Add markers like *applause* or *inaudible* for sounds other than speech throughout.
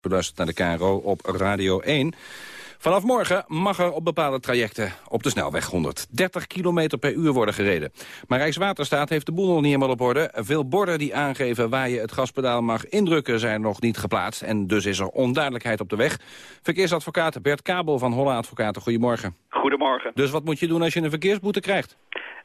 Beluisterd naar de KRO op Radio 1. Vanaf morgen mag er op bepaalde trajecten op de snelweg 130 km per uur worden gereden. Maar Rijkswaterstaat heeft de boel nog niet helemaal op orde. Veel borden die aangeven waar je het gaspedaal mag indrukken zijn nog niet geplaatst. En dus is er onduidelijkheid op de weg. Verkeersadvocaat Bert Kabel van Holla Advocaten, goedemorgen. Goedemorgen. Dus wat moet je doen als je een verkeersboete krijgt?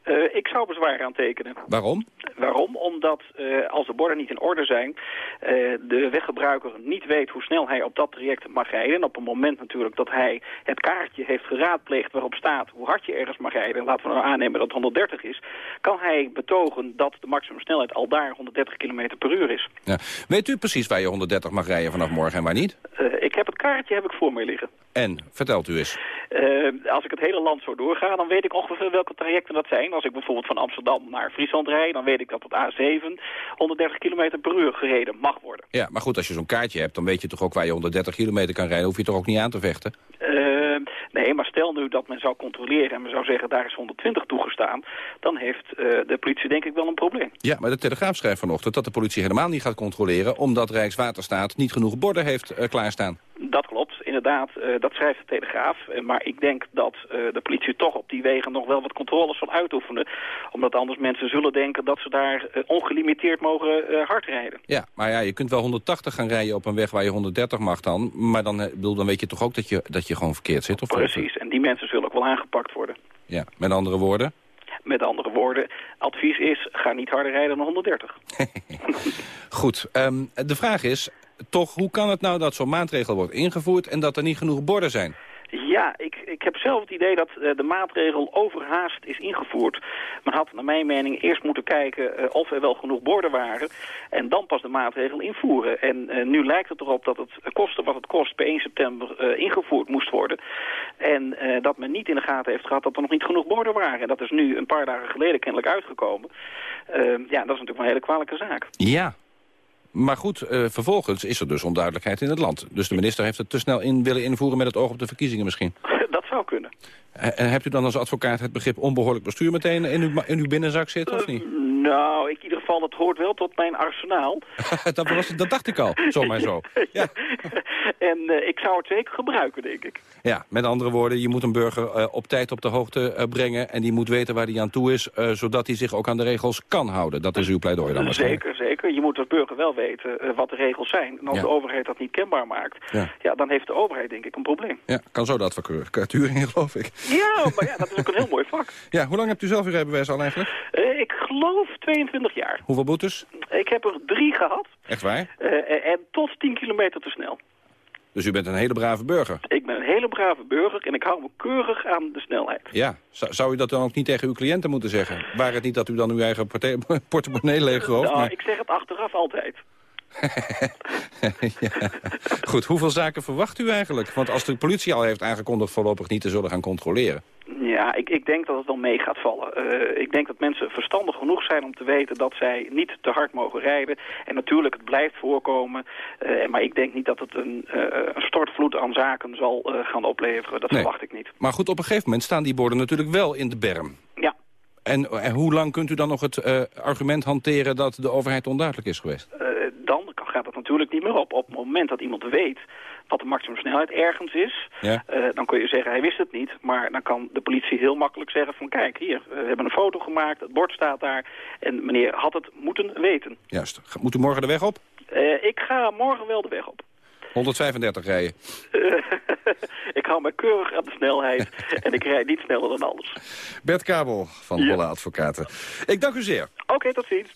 Eh, ik zou bezwaar aantekenen. Waarom? Waarom? Omdat eh, als de borden niet in orde zijn, eh, de weggebruiker niet weet hoe snel hij op dat traject mag rijden. En op het moment natuurlijk dat hij het kaartje heeft geraadpleegd waarop staat hoe hard je ergens mag rijden, laten we nou aannemen dat het 130 is, kan hij betogen dat de maximumsnelheid al daar 130 km per uur is. Ja. Weet u precies waar je 130 mag rijden vanaf morgen en waar niet? Eh, ik heb het kaartje heb ik voor me liggen. En, vertelt u eens. Eh, als ik het hele land zo doorga, dan weet ik ongeveer welke trajecten dat zijn. Als ik bijvoorbeeld van Amsterdam naar Friesland rijd, dan weet ik dat op A7 130 km per uur gereden mag worden. Ja, maar goed, als je zo'n kaartje hebt, dan weet je toch ook waar je 130 kilometer kan rijden. Hoef je toch ook niet aan te vechten? Eh, nee, maar stel nu dat men zou controleren en men zou zeggen daar is 120 toegestaan, dan heeft eh, de politie denk ik wel een probleem. Ja, maar de Telegraaf schrijft vanochtend dat de politie helemaal niet gaat controleren... omdat Rijkswaterstaat niet genoeg borden heeft eh, klaarstaan. Dat klopt, inderdaad, eh, dat schrijft de Telegraaf. Eh, maar ik denk dat eh, de politie toch op die wegen nog wel wat controles zal uitoefenen. Omdat anders mensen zullen denken dat ze daar eh, ongelimiteerd mogen eh, hard rijden. Ja, maar ja, je kunt wel 180 gaan rijden op een weg waar je 130 mag dan... maar dan, eh, bedoel, dan weet je toch ook dat je, dat je gewoon verkeerd zit? Of Precies, en die mensen zullen ook wel aangepakt worden. Ja, met andere woorden. Met andere woorden, advies is, ga niet harder rijden dan 130. Goed, ehm, de vraag is toch hoe kan het nou dat zo'n maatregel wordt ingevoerd... en dat er niet genoeg borden zijn? Ja, ik, ik heb zelf het idee dat eh, de maatregel overhaast is ingevoerd. Men had naar mijn mening eerst moeten kijken eh, of er wel genoeg borden waren... en dan pas de maatregel invoeren. En eh, nu lijkt het erop dat het koste wat het kost per 1 september eh, ingevoerd moest worden. En eh, dat men niet in de gaten heeft gehad dat er nog niet genoeg borden waren. En dat is nu een paar dagen geleden kennelijk uitgekomen. Eh, ja, dat is natuurlijk wel een hele kwalijke zaak. Ja. Maar goed, eh, vervolgens is er dus onduidelijkheid in het land. Dus de minister heeft het te snel in willen invoeren met het oog op de verkiezingen misschien. *laughs* Dat zou kunnen. Eh, En hebt u dan als advocaat het begrip onbehoorlijk bestuur meteen in uw, ma- in uw binnenzak zitten of niet? Nou, ik in ieder geval, dat hoort wel tot mijn arsenaal. *laughs* dat, was, dat dacht ik al, zomaar zo. Oh. *laughs* Ja. en eh, ik zou het zeker gebruiken, denk ik. ja, met andere woorden, je moet een burger eh, op tijd op de hoogte eh, brengen... en die moet weten waar hij aan toe is, eh, zodat hij zich ook aan de regels kan houden. Dat is uw pleidooi dan waarschijnlijk. zeker, zeker. Je moet als burger wel weten eh, wat de regels zijn. En als Ja. de overheid dat niet kenbaar maakt, Ja. ja. dan heeft de overheid denk ik een probleem. Ja, kan zo de advocatuur in, *laughs* geloof ik. Ja, maar ja, dat is ook een heel mooi vak. Ja, hoe lang hebt u zelf uw rijbewijs al eigenlijk? Eh, ik geloof 22 jaar. Hoeveel boetes? Ik heb er drie gehad. Echt waar? eh, en tot 10 kilometer te snel. Dus u bent een hele brave burger. Ik ben een hele brave burger en ik hou me keurig aan de snelheid. Ja, zou, zou u dat dan ook niet tegen uw cliënten moeten zeggen? Waar het niet dat u dan uw eigen porte- *laughs* portemonnee leegrooft? Nou, maar- ik zeg het achteraf altijd. *laughs* ja. Goed, hoeveel zaken verwacht u eigenlijk? Want als de politie al heeft aangekondigd voorlopig niet te zullen gaan controleren. Ja, ik, ik denk dat het wel mee gaat vallen. Eh, ik denk dat mensen verstandig genoeg zijn om te weten dat zij niet te hard mogen rijden. En natuurlijk, het blijft voorkomen. Eh, maar ik denk niet dat het een, eh, een stortvloed aan zaken zal eh, gaan opleveren. Dat Nee. verwacht ik niet. Maar goed, op een gegeven moment staan die borden natuurlijk wel in de berm. Ja. En, en hoe lang kunt u dan nog het eh, argument hanteren dat de overheid onduidelijk is geweest? eh, dan gaat dat natuurlijk niet meer op. Op het moment dat iemand weet wat de maximumsnelheid ergens is... Ja. eh, dan kun je zeggen, hij wist het niet. Maar dan kan de politie heel makkelijk zeggen van... kijk, hier, eh, we hebben een foto gemaakt, het bord staat daar... en meneer had het moeten weten. Juist. Ga- Moet u morgen de weg op? Eh, ik ga morgen wel de weg op. *laughs* 135 rijden. ik hou me keurig aan de snelheid en ik rijd niet sneller dan anders. Bert Kabel van Holla Advocaten. Ik dank u zeer. Oké, tot ziens.